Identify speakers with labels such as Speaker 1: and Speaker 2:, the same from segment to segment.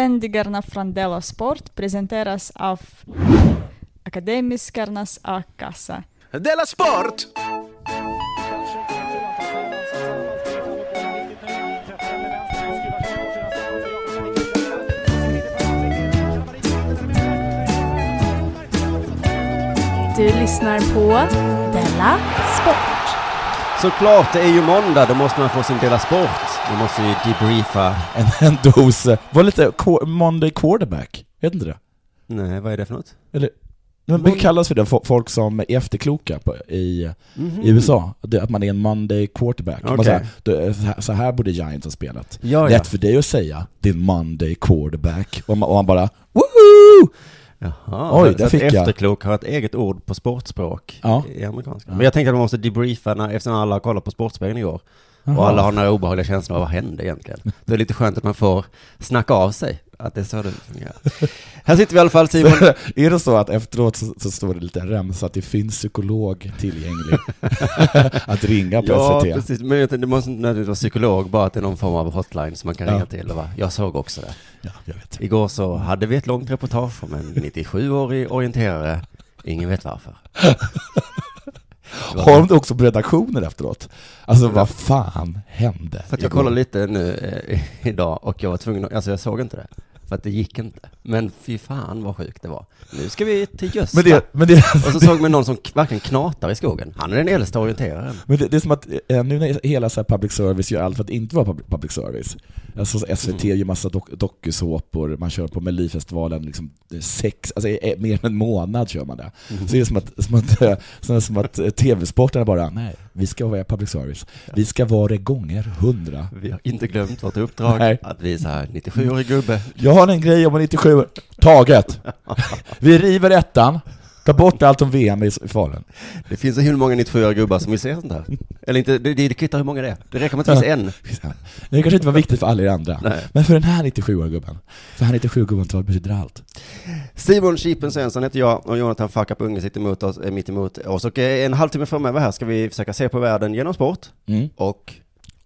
Speaker 1: Sändningarna från Della Sport presenteras av Akademiskernas A-kassa.
Speaker 2: Della Sport!
Speaker 3: Du lyssnar på Della Sport.
Speaker 4: Såklart, det är ju måndag, då måste man få sin Dela Sport. Man måste ju debriefa.
Speaker 5: en, en dos, eh, var lite qu- Monday quarterback, vet inte det?
Speaker 4: Nej, vad är det för något?
Speaker 5: Eller, men det kallas för det, fo- folk som är efterkloka på, i, i
Speaker 4: Mm-hmm.
Speaker 5: USA, det, att man är en Monday quarterback. Man
Speaker 4: Mm. Okej.
Speaker 5: så, här, du, eh, så, här, så här borde Giants ha spelat.
Speaker 4: Ja, ja.
Speaker 5: Lätt för dig att säga, din Monday quarterback. Och man, och man bara, woohoo!
Speaker 4: Jaha,
Speaker 5: Oj,
Speaker 4: så
Speaker 5: där
Speaker 4: att
Speaker 5: fick jag.
Speaker 4: efterklok har ett eget ord på sportspråk
Speaker 5: Ja.
Speaker 4: i amerikanska. Men jag tänkte att man måste debriefa när, eftersom alla har kollat på Sportspegeln igår. Och
Speaker 5: Jaha.
Speaker 4: alla har några obehagliga känslor av vad hände egentligen. Det är lite skönt att man får snacka av sig, att det är så det fungerar. Här sitter vi i alla fall Simon.
Speaker 5: är det så att efteråt så, så står det lite remsa att det finns psykolog tillgänglig att ringa på
Speaker 4: Ja,
Speaker 5: SVT?
Speaker 4: precis. Men jag tänkte, det måste nödvändigtvis vara psykolog, bara att det är någon form av hotline som man kan
Speaker 5: Ja.
Speaker 4: ringa till. Och va? Jag såg också det.
Speaker 5: Ja, jag vet.
Speaker 4: Igår så hade vi ett långt reportage om en 97-årig orienterare. Ingen vet varför. Det var-
Speaker 5: Har de det också på redaktioner efteråt? Alltså vad fan hände?
Speaker 4: För att jag
Speaker 5: igår?
Speaker 4: kollade lite nu eh, idag och jag var tvungen att, alltså jag såg inte det. För att det gick inte. Men fy fan vad sjukt det var. Nu ska vi till Gösta.
Speaker 5: Men det, men det,
Speaker 4: Och så såg man någon som k- verkligen knatar i skogen. Han är den äldsta orienteraren.
Speaker 5: Men det, det är som att eh, nu när hela så här public service gör allt för att inte vara pub- public service. Alltså så SVT
Speaker 4: Mm.
Speaker 5: gör massa dok- dokusåpor, man kör på Melodifestivalen liksom eh, sex, alltså eh, eh, mer än en månad kör man det.
Speaker 4: Mm-hmm.
Speaker 5: Så det är som att, som att, eh, som att, som att eh, TV-sportarna bara, nej, vi ska vara public service. Vi ska vara det gånger hundra.
Speaker 4: Vi har inte glömt vårt uppdrag
Speaker 5: Nej.
Speaker 4: att vi är så här 97-årig gubbe.
Speaker 5: Jag har en grej om 97, taget. Vi river ettan, tar bort allt om VM i i Falun.
Speaker 4: Det finns ju hur många 97-åriga gubbar som vill se sånt här. Eller inte, det, det kvittar hur många det är. Det räcker med att det finns en.
Speaker 5: Det kanske inte var viktigt för alla er andra, men för den här 97-gubben, för han 97-gubben tar betyder allt.
Speaker 4: Simon Chipen Svensson heter jag och Jonathan Fuck Up Unge sitter emot oss, eh, mitt emot oss. Och eh, en halvtimme framöver här ska vi försöka se på världen genom sport
Speaker 5: Mm.
Speaker 4: och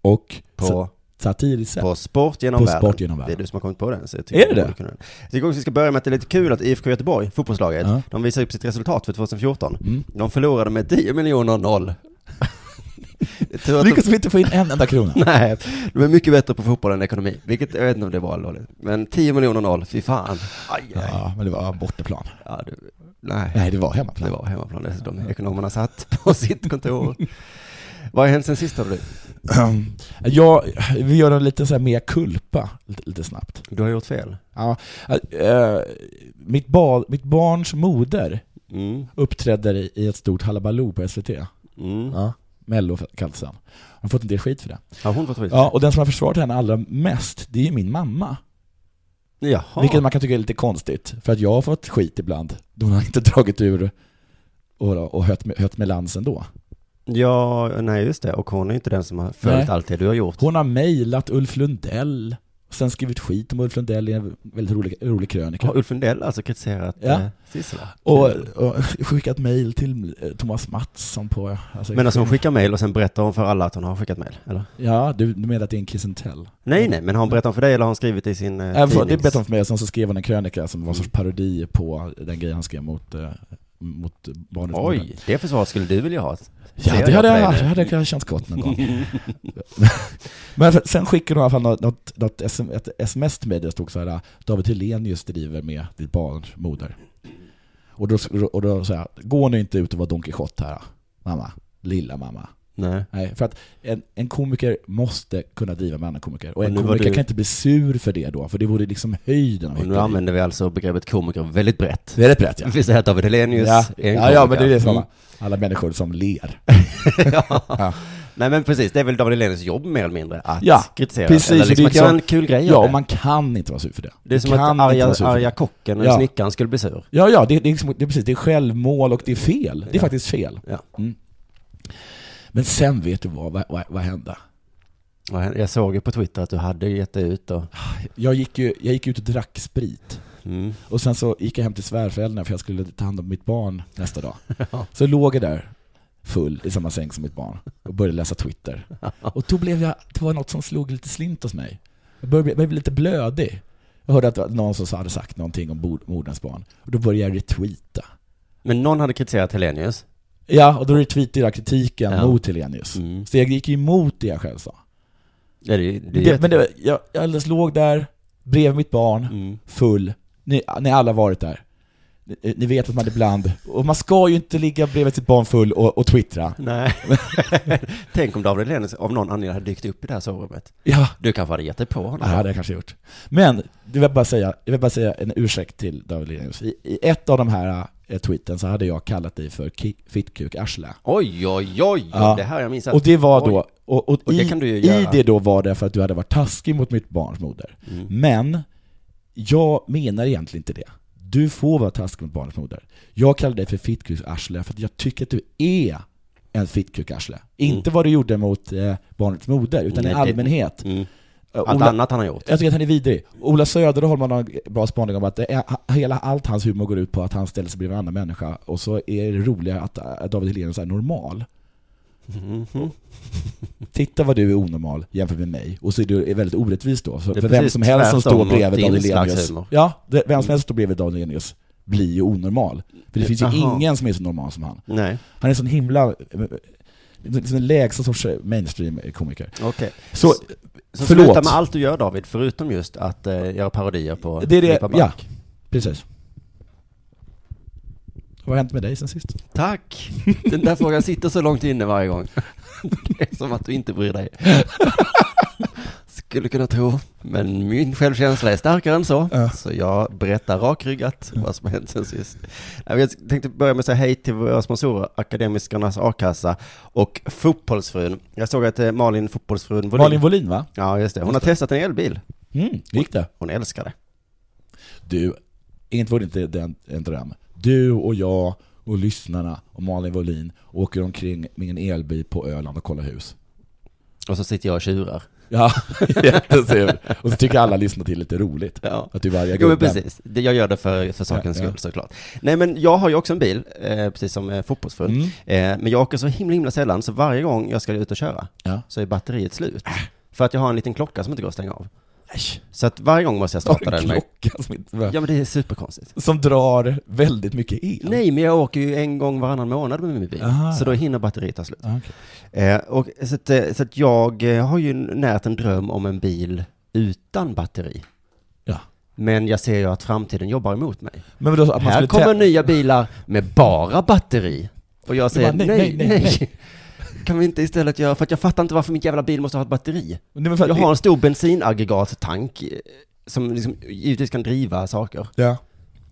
Speaker 5: Och
Speaker 4: på,
Speaker 5: sa- satiriskt sätt.
Speaker 4: på sport genom
Speaker 5: På
Speaker 4: världen.
Speaker 5: sport genom världen.
Speaker 4: Det är du som har kommit på den. Så jag
Speaker 5: Är
Speaker 4: tycker
Speaker 5: det
Speaker 4: du
Speaker 5: det?
Speaker 4: borde kunna den. Jag tycker också vi ska börja med att det är lite kul att IFK Göteborg, fotbollslaget,
Speaker 5: Ja.
Speaker 4: de visar upp sitt resultat för 2014.
Speaker 5: Mm.
Speaker 4: De förlorade med 10 miljoner noll. Tur att de-
Speaker 5: Lyckas vi inte få in en enda krona?
Speaker 4: Nej, de är mycket bättre på fotboll än ekonomi, vilket jag vet inte om det var allvarligt. Men 10 miljoner noll, fy fan. Aj, aj.
Speaker 5: Ja, men det var bortaplan.
Speaker 4: Ja, du, nej.
Speaker 5: Nej, det var
Speaker 4: Det
Speaker 5: hemmaplan.
Speaker 4: var hemmaplan dessutom. Ekonomerna satt på sitt kontor. Vad har hänt sen sist då, du?
Speaker 5: Ja, Ehm, vi gör en liten så här mea culpa, lite, lite snabbt.
Speaker 4: Du har gjort fel.
Speaker 5: Ja, eh, mitt, ba, mitt barns moder
Speaker 4: Mm.
Speaker 5: uppträdde i i ett stort halabaloo på SVT.
Speaker 4: Mm.
Speaker 5: Ja. Mello kallades han. Hon har fått en del skit för det.
Speaker 4: Har hon fått skit?
Speaker 5: Ja, och den som har försvarat henne allra mest, det är ju min mamma.
Speaker 4: Jaha.
Speaker 5: Vilket man kan tycka är lite konstigt, för att jag har fått skit ibland. Då har jag inte dragit ur och, och hött, med, hött med lansen då.
Speaker 4: Ja, nej just det. Och hon är ju inte den som har följt
Speaker 5: Nej.
Speaker 4: allt det du har gjort.
Speaker 5: Hon har mejlat Ulf Lundell, och sen skrivit skit om Ulf Lundell i en väldigt rolig, rolig krönika.
Speaker 4: Har Ulf Lundell alltså kritiserat
Speaker 5: Ja.
Speaker 4: eh, Sissela?
Speaker 5: Och, och skickat mejl till eh, Thomas Mattsson på... Alltså,
Speaker 4: Men alltså hon skickar mejl och sen berättar hon för alla att hon har skickat mejl, eller?
Speaker 5: Ja, du, du menar att det är en kiss and tell?
Speaker 4: Nej, nej, men har hon berättat om för dig eller har hon skrivit i sin eh,
Speaker 5: Äh, för, det
Speaker 4: tidnings- Mm.
Speaker 5: berättade hon för mig, och sen så skrev hon en krönika som var en sorts parodi på den grejen han skrev mot, eh, mot barnet.
Speaker 4: Oj, det försvaret skulle du vilja ha. Ser
Speaker 5: Ja, det
Speaker 4: jag
Speaker 5: hade,
Speaker 4: på dig
Speaker 5: jag,
Speaker 4: nu?
Speaker 5: det hade jag känt gott någon gång. Men för- sen skickade hon i alla fall något, något, något SM, ett sms till mig där det stod så här David Hellenius driver med ditt barns moder. Och då, och då sa jag, gå nu inte ut och var Don Quijote här, mamma. Lilla mamma.
Speaker 4: Nej.
Speaker 5: Nej, för att en, en komiker måste kunna driva med en annan komiker. Och en
Speaker 4: nu var
Speaker 5: komiker
Speaker 4: du-
Speaker 5: kan inte bli sur för det då, för det vore liksom höjden av
Speaker 4: Och nu
Speaker 5: hyckleri.
Speaker 4: använder vi alltså begreppet komiker väldigt brett.
Speaker 5: Det är rätt brett ja.
Speaker 4: Vi säger att David Hellenius
Speaker 5: Ja,
Speaker 4: är en
Speaker 5: ja, ja, men det är
Speaker 4: komiker. Mm.
Speaker 5: det som alla, Mm. alla människor som ler.
Speaker 4: ja. Nej men precis, det är väl David Hellenius jobb mer eller mindre att
Speaker 5: Ja,
Speaker 4: kritisera.
Speaker 5: precis,
Speaker 4: Eller
Speaker 5: och
Speaker 4: liksom
Speaker 5: det är
Speaker 4: att göra
Speaker 5: som-
Speaker 4: en kul grej av
Speaker 5: Ja, och
Speaker 4: det.
Speaker 5: man kan inte vara sur för det.
Speaker 4: Det är som
Speaker 5: Man
Speaker 4: att
Speaker 5: kan inte
Speaker 4: arga,
Speaker 5: vara sur för det.
Speaker 4: arga kocken och
Speaker 5: Ja.
Speaker 4: snickaren skulle bli sur.
Speaker 5: Ja, ja, det, det, är liksom, det, är precis, det är självmål och det är fel. Det är
Speaker 4: Ja.
Speaker 5: faktiskt fel.
Speaker 4: Ja.
Speaker 5: Mm. Men sen vet du vad, vad, vad, vad hände?
Speaker 4: Vad hände? Jag såg ju på Twitter att du hade gett dig ut och...
Speaker 5: Jag gick, ju, jag gick ut och drack sprit.
Speaker 4: Mm.
Speaker 5: Och sen så gick jag hem till svärföräldrarna för jag skulle ta hand om mitt barn nästa dag. Så låg jag där full i samma säng som mitt barn och började läsa Twitter. Och då blev jag, det var något som slog lite slint hos mig. Jag började, bli- jag blev lite blödig. Jag hörde att det var någon som hade sagt någonting om Bord- Mordens barn. Och då började jag retweeta.
Speaker 4: Men någon hade kritiserat Helenius.
Speaker 5: Ja, och då retweetade jag kritiken
Speaker 4: Ja.
Speaker 5: mot Helenius.
Speaker 4: Mm.
Speaker 5: Så jag gick ju emot det jag själv sa.
Speaker 4: Ja, det, det, är
Speaker 5: Det, men det, var- jag, jag alldeles låg där, bredvid mitt barn,
Speaker 4: Mm.
Speaker 5: full. Ni, ni har alla varit där. Ni, ni vet att man ibland... Och man ska ju inte ligga bredvid sitt barn full och, och twittra.
Speaker 4: Nej. Tänk om David Helenius av någon anledning hade dykt upp i det här sovrummet.
Speaker 5: Ja,
Speaker 4: Du kanske hade gett dig på
Speaker 5: det
Speaker 4: honom.
Speaker 5: hade jag kanske gjort. Men, det vill jag, bara säga, jag vill bara säga en ursäkt till David Lenius. I, I ett av de här eh, tweeten så hade jag kallat dig för ki- fittkuk-arsle.
Speaker 4: Oj, oj, oj!
Speaker 5: Ja.
Speaker 4: Det här har jag missat.
Speaker 5: Och det var då, och, och,
Speaker 4: Och det
Speaker 5: i,
Speaker 4: kan du ju
Speaker 5: i
Speaker 4: göra.
Speaker 5: det då var det för att du hade varit taskig mot mitt barns moder.
Speaker 4: Mm.
Speaker 5: Men, jag menar egentligen inte det. Du får vara taskig mot barnets moder. Jag kallar dig för fittkukarsle för att jag tycker att du är en fittkukarsle. Inte vad du gjorde mot eh, barnets moder, utan
Speaker 4: Mm. Nej,
Speaker 5: i
Speaker 4: det-
Speaker 5: allmänhet.
Speaker 4: Mm.
Speaker 5: Eh,
Speaker 4: Allt
Speaker 5: Ola-
Speaker 4: annat han har gjort.
Speaker 5: jag tycker att han är vidrig. Ola Söderholm har någon bra spaning om att det är, ha- hela, allt hans humor går ut på att han ställer sig bredvid en annan människa och så är det roliga att eh, David Hellenius är normal.
Speaker 4: Mhm.
Speaker 5: Titta vad du är onormal jämfört med mig. Och så är du är väldigt orättvis då. Så
Speaker 4: Det är
Speaker 5: för vem
Speaker 4: precis
Speaker 5: som helst som
Speaker 4: tvärtom
Speaker 5: står
Speaker 4: mot
Speaker 5: bredvid
Speaker 4: din
Speaker 5: David
Speaker 4: slags
Speaker 5: Hellenius.
Speaker 4: humor.
Speaker 5: Ja, det- vem som helst som står bredvid David Hellenius blir ju onormal. För det finns ju
Speaker 4: Jaha.
Speaker 5: ingen som är så normal som han.
Speaker 4: Nej,
Speaker 5: Han är sån himla... Liksom den lägsta sorts mainstream-komiker.
Speaker 4: okej.
Speaker 5: Så,
Speaker 4: Så
Speaker 5: Förlåt.
Speaker 4: sluta med allt du gör David, förutom just att eh, göra parodier på
Speaker 5: Det är det,
Speaker 4: Filippa
Speaker 5: ja.
Speaker 4: Mark.
Speaker 5: Precis. Vad har hänt med dig sen sist?
Speaker 4: Tack! Den där frågan sitter så långt inne varje gång. Det är som att du inte bryr dig. Skulle kunna tro, men min självkänsla är starkare än så.
Speaker 5: Ja.
Speaker 4: Så jag berättar rakryggat vad som har hänt sen sist. Nej, men Jag tänkte börja med att säga hej till våra sponsorer, Akademikernas A-kassa och Fotbollsfrun. Jag såg att eh, Malin, Fotbollsfrun, Volin,
Speaker 5: Malin Wollin va?
Speaker 4: Ja, just det. Hon har testat en elbil.
Speaker 5: Mm, hur gick det?
Speaker 4: Hon älskar det.
Speaker 5: Du, inte vore inte den en dröm. Du och jag och lyssnarna och Malin Wollin åker omkring med en elbil på Öland och kollar hus.
Speaker 4: Och så sitter jag och tjurar.
Speaker 5: Ja, jättesul. Och så tycker alla lyssnar till lite roligt.
Speaker 4: Ja.
Speaker 5: Att du är arga
Speaker 4: Jo men
Speaker 5: gubben.
Speaker 4: precis, Det- jag gör det för, för sakens
Speaker 5: Ja, ja.
Speaker 4: skull såklart. Nej men jag har ju också en bil, eh, precis som eh, fotbollsfrun.
Speaker 5: Mm.
Speaker 4: Eh, men jag åker så himla himla sällan, så varje gång jag ska ut och köra
Speaker 5: Ja. Äh.
Speaker 4: så är batteriet slut. För att jag har en liten klocka som inte går att stänga av.
Speaker 5: Äsch,
Speaker 4: Så att varje gång måste jag
Speaker 5: har du
Speaker 4: starta den.
Speaker 5: en
Speaker 4: Med.
Speaker 5: klocka som, inte,
Speaker 4: Ja men det är superkonstigt.
Speaker 5: som drar väldigt mycket el?
Speaker 4: Nej men jag åker ju en gång varannan månad med min bil,
Speaker 5: Aha.
Speaker 4: så då hinner batteriet ta slut.
Speaker 5: Ah, okej.
Speaker 4: Eh, och, så att, eh, så att jag eh, har ju närt en dröm om en bil utan batteri.
Speaker 5: Ja.
Speaker 4: Men jag ser ju att framtiden jobbar emot mig.
Speaker 5: Men då, att man
Speaker 4: Här
Speaker 5: skulle
Speaker 4: kommer
Speaker 5: tä-
Speaker 4: nya bilar med bara batteri. Och jag säger
Speaker 5: bara,
Speaker 4: nej, nej, nej, Kan vi inte istället göra, för att jag fattar inte varför min jävla bil måste ha ett batteri.
Speaker 5: Nej, men för att-
Speaker 4: Jag har en stor bensinaggregattank eh, som liksom givetvis kan driva saker.
Speaker 5: ja.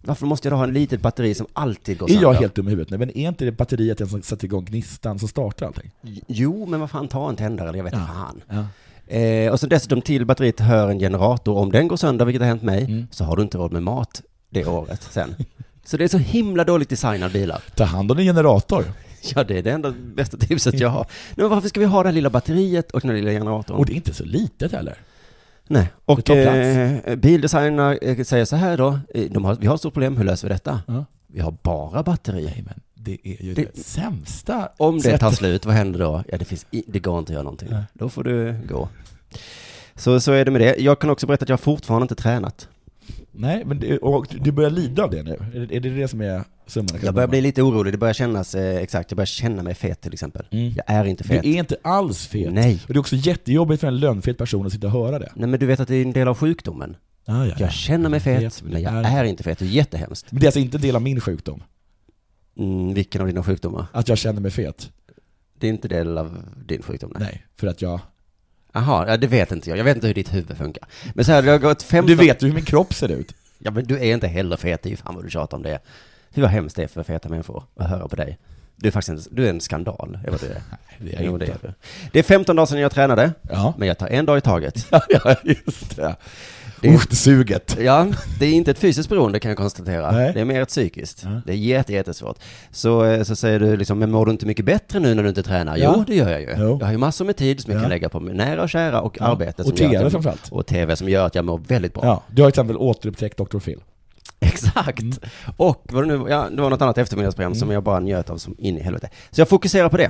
Speaker 4: Varför måste jag då ha en litet batteri som alltid går
Speaker 5: Är jag
Speaker 4: sönder?
Speaker 5: helt dum i huvudet nu? Men är inte det batteriet den som sätter igång gnistan som startar allting?
Speaker 4: Jo, men vad fan, ta en tändare, jag vet inte
Speaker 5: Ja.
Speaker 4: fan.
Speaker 5: Ja.
Speaker 4: Eh, och så dessutom till batteriet hör en generator. Om den går sönder, vilket har hänt mig,
Speaker 5: Mm.
Speaker 4: så har du inte råd med mat det året sen. Så det är så himla dåligt designade bilar.
Speaker 5: Ta hand om din generator.
Speaker 4: Ja, det är det enda bästa tipset jag har. Nej, men varför ska vi ha det här lilla batteriet och den här lilla generatorn?
Speaker 5: Och det är inte så litet heller.
Speaker 4: Nej.
Speaker 5: det
Speaker 4: Och
Speaker 5: tar
Speaker 4: eh, bildesignerna eh, säger så här då, eh, de har, vi har ett stort problem, hur löser vi detta?
Speaker 5: Ja.
Speaker 4: Vi har bara batterier.
Speaker 5: Nej men, det är ju det,
Speaker 4: Det-
Speaker 5: sämsta
Speaker 4: Om det tar
Speaker 5: sättet.
Speaker 4: slut, vad händer då? Ja, det, finns i, det går inte att göra någonting.
Speaker 5: Nej.
Speaker 4: Då får du gå. Så, så är det med det. Jag kan också berätta att jag fortfarande inte tränat.
Speaker 5: Nej, men det, och du börjar lida av det nu. Är det är det, det som är summan?
Speaker 4: Jag börjar bli lite orolig, det börjar kännas, eh, exakt, jag börjar känna mig fet till exempel.
Speaker 5: Mm.
Speaker 4: Jag är inte
Speaker 5: Du
Speaker 4: fet.
Speaker 5: är inte alls fet.
Speaker 4: Nej.
Speaker 5: Och det är också jättejobbigt för en lönnfet person att sitta och höra det.
Speaker 4: Nej men du vet att det är en del av sjukdomen.
Speaker 5: Ah, ja,
Speaker 4: Jag känner mig fet,
Speaker 5: Vet,
Speaker 4: men jag
Speaker 5: är-
Speaker 4: är inte fet. Det är jättehemskt.
Speaker 5: Men det är alltså inte en del av min sjukdom,
Speaker 4: Mm, vilken av dina sjukdomar?
Speaker 5: att jag känner mig fet.
Speaker 4: Det är inte del av din sjukdom? Nej.
Speaker 5: Nej, för att jag...
Speaker 4: Jaha, ja, det vet inte jag. Jag vet inte hur ditt huvud funkar. Men så här, det har gått 15...
Speaker 5: Du vet ju hur min kropp ser ut.
Speaker 4: Ja, men du är inte heller fet. Det är ju fan vad du tjatar om det. Hur vad hemskt det är för feta människor att höra på dig. Du är faktiskt en, du är en skandal. Är vad du är.
Speaker 5: Det
Speaker 4: Jo, det, är du. det är 15 dagar sedan jag tränade,
Speaker 5: Ja.
Speaker 4: men jag tar en dag i taget.
Speaker 5: ja, just det.
Speaker 4: Det-
Speaker 5: Usch, suget.
Speaker 4: Ja, det är inte ett fysiskt beroende kan jag konstatera.
Speaker 5: Nej.
Speaker 4: Det är mer ett psykiskt.
Speaker 5: Ja.
Speaker 4: Det är jätte, jättesvårt. Så, eh, så säger du liksom, men mår du inte mycket bättre nu när du inte tränar?
Speaker 5: Ja.
Speaker 4: Jo, det gör jag ju.
Speaker 5: Jo.
Speaker 4: Jag har ju massor med tid som jag
Speaker 5: Ja.
Speaker 4: kan lägga på min nära och kära och arbete. som
Speaker 5: Och
Speaker 4: gör att
Speaker 5: TV
Speaker 4: jag-
Speaker 5: framförallt.
Speaker 4: Och tv som gör att jag mår väldigt bra.
Speaker 5: Ja, du har till exempel återupptäckt Dr. Phil.
Speaker 4: Exakt.
Speaker 5: Mm.
Speaker 4: Och vad det nu ja, det var något annat eftermiddagsprogram som jag bara njöt av som in i helvete. Så jag fokuserar på det.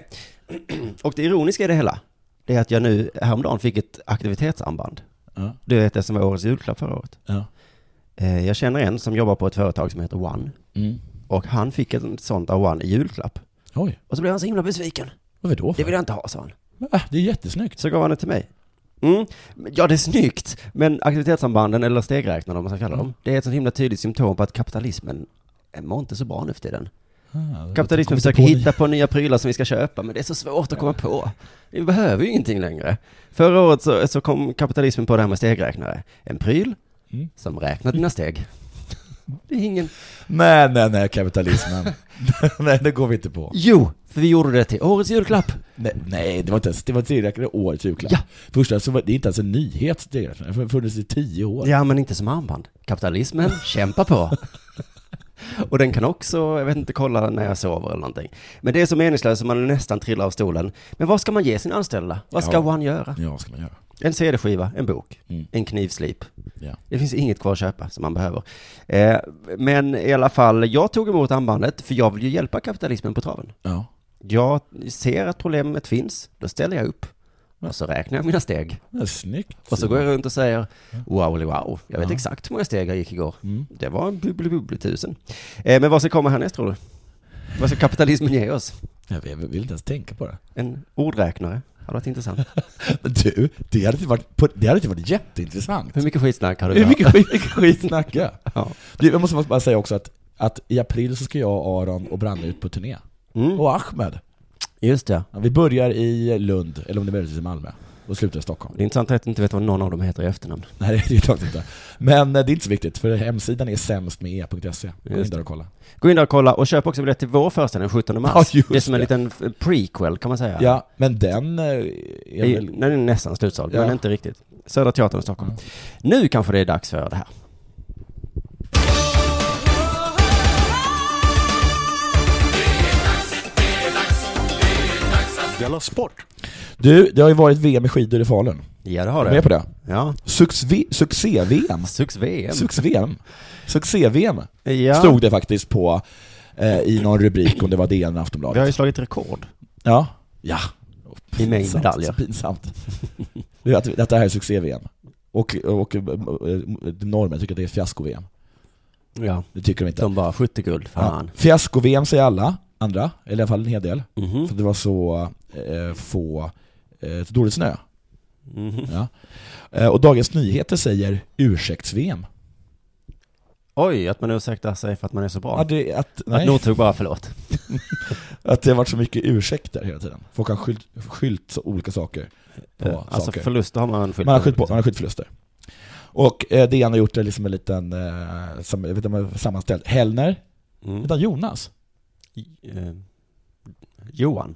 Speaker 4: Och det ironiska i det hela, det är att jag nu häromdagen fick ett aktivitetsarmband.
Speaker 5: Ja,
Speaker 4: Du vet det som var årets julklapp förra året.
Speaker 5: ja.
Speaker 4: Eh, Jag känner en som jobbar på ett företag som heter One.
Speaker 5: Mm.
Speaker 4: Och han fick ett sånt av One i julklapp.
Speaker 5: Oj,
Speaker 4: Och så blev han så himla besviken.
Speaker 5: varför då? För?
Speaker 4: Det vill jag inte ha, sa han.
Speaker 5: Ah, det är jättesnyggt.
Speaker 4: Så gav han det till mig. Mm. men- Ja, det är snyggt, men aktivitetssambanden eller stegräknarna om man ska kalla dem, det är ett sånt himla tydligt symptom på att kapitalismen eh, mår inte så bra nu för tiden.
Speaker 5: Ah,
Speaker 4: Kapitalismen
Speaker 5: jag
Speaker 4: försöker
Speaker 5: kom inte
Speaker 4: hitta på nya prylar som vi ska köpa, men det är så svårt att komma på. Vi behöver ju ingenting längre. Förra året så, så kom kapitalismen på det här med stegräknare. En pryl
Speaker 5: Mm.
Speaker 4: som räknar dina steg. Det är ingen...
Speaker 5: på det. Nej, nej, nej, kapitalismen. nej, det går vi inte på.
Speaker 4: Jo, för vi gjorde det till årets julklapp.
Speaker 5: Nej, nej det var inte ens, det var tillräckligt årets julklapp.
Speaker 4: Ja.
Speaker 5: Första, så var, det är inte ens en nyhet, det har funnits i tio år.
Speaker 4: Ja, men inte som armband. Kapitalismen kämpar på. Och den kan också, jag vet inte, kolla när jag sover eller någonting. Men det är så meningslöst som man nästan trillar av stolen. Men vad ska man ge sin anställda? Vad ska
Speaker 5: Ja.
Speaker 4: One göra?
Speaker 5: Ja, vad ska man göra?
Speaker 4: En CD-skiva, en bok,
Speaker 5: Mm.
Speaker 4: en knivslip.
Speaker 5: Ja.
Speaker 4: Det finns inget kvar att köpa som man behöver. Eh, men i alla fall, jag tog emot armbandet för jag vill ju hjälpa kapitalismen på traven.
Speaker 5: ja.
Speaker 4: Jag ser att problemet finns, då ställer jag upp. Och så räknar jag mina steg.
Speaker 5: Ja, snyggt.
Speaker 4: Och så går jag runt och säger wow, wow. Jag vet
Speaker 5: Ja.
Speaker 4: exakt hur många steg jag gick igår.
Speaker 5: Mm.
Speaker 4: Det var en bubbli tusen. Eh, men vad ska komma härnäst tror du? Vad ska kapitalismen ge oss?
Speaker 5: Jag vill, jag vill inte ens tänka på det.
Speaker 4: En ordräknare? Hade varit intressant.
Speaker 5: Men du, det hade ju varit, på- det hade ju varit jätteintressant.
Speaker 4: Hur mycket skitsnack har du
Speaker 5: Hur
Speaker 4: hört?
Speaker 5: mycket skit, mycket skit snackar jag?
Speaker 4: Ja.
Speaker 5: Du, Jag måste bara säga också att, att i april så ska jag, Aron och Branne ut på turné.
Speaker 4: Mm.
Speaker 5: Och Ahmed.
Speaker 4: Just det.
Speaker 5: Ja, Vi börjar i Lund, eller om det möjligtvis är Malmö, och slutar i Stockholm.
Speaker 4: Det är intressant att du inte vet vad någon av dem heter i efternamn.
Speaker 5: Nej, det är ju klart inte. Men eh, det är inte så viktigt, för hemsidan är sämst med e.se. Gå in
Speaker 4: Just
Speaker 5: där och kolla.
Speaker 4: Gå in där och kolla och köp också biljett till vår föreställning den 17 mars.
Speaker 5: Ja, just
Speaker 4: det är som en
Speaker 5: det.
Speaker 4: liten f- prequel kan man säga.
Speaker 5: Ja, men den eh,
Speaker 4: Det är,
Speaker 5: är väl...
Speaker 4: den är nästan slutsåld,
Speaker 5: Ja.
Speaker 4: men inte riktigt. Södra Teatern i Stockholm. Nu kanske det är dags för det här.
Speaker 2: Della Sport!
Speaker 5: Du, det har ju varit VM i skidor i Falun.
Speaker 4: Ja, det har
Speaker 5: Är du med
Speaker 4: det.
Speaker 5: på det?
Speaker 4: Ja.
Speaker 5: Succé- Succé-VM.
Speaker 4: Succé-VM.
Speaker 5: Succé-VM. Succé-VM.
Speaker 4: ja.
Speaker 5: Stod det faktiskt på eh, i någon rubrik, om det var DN eller
Speaker 4: Vi har ju
Speaker 5: Aftonbladet.
Speaker 4: slagit rekord
Speaker 5: Ja. Ja.
Speaker 4: i mängd
Speaker 5: Pinsamt,
Speaker 4: medaljer.
Speaker 5: Så pinsamt. Det är att- Detta här är succé-VM. Och, och eh, norrmän tycker att det är fiasko-VM.
Speaker 4: Ja.
Speaker 5: Det tycker de inte.
Speaker 4: De bara 70 guld, fan.
Speaker 5: Ja. Fiasko-VM säger alla, andra, eller i alla fall en hel del.
Speaker 4: Mhm.
Speaker 5: För det var så eh, få, eh, så dåligt snö.
Speaker 4: Mhm.
Speaker 5: Ja. Eh, och Dagens Nyheter säger ursäkts-VM.
Speaker 4: Oj, att man ursäktar sig för att man är så bra.
Speaker 5: Ja, det, att,
Speaker 4: att
Speaker 5: nej,
Speaker 4: Nordtug bara förlåt.
Speaker 5: att det har varit så mycket ursäkter hela tiden. Folk har skylt, skylt så olika saker. På
Speaker 4: Eh, alltså
Speaker 5: saker.
Speaker 4: förluster har man liksom. skylt
Speaker 5: Man har skylt, på, man har skylt förluster. Och eh, DN har gjort det liksom en liten, eh, sam, jag vet inte om jag har sammanställt, Hellner,
Speaker 4: Mm.
Speaker 5: utan Jonas.
Speaker 4: Eh, Johan. Mm.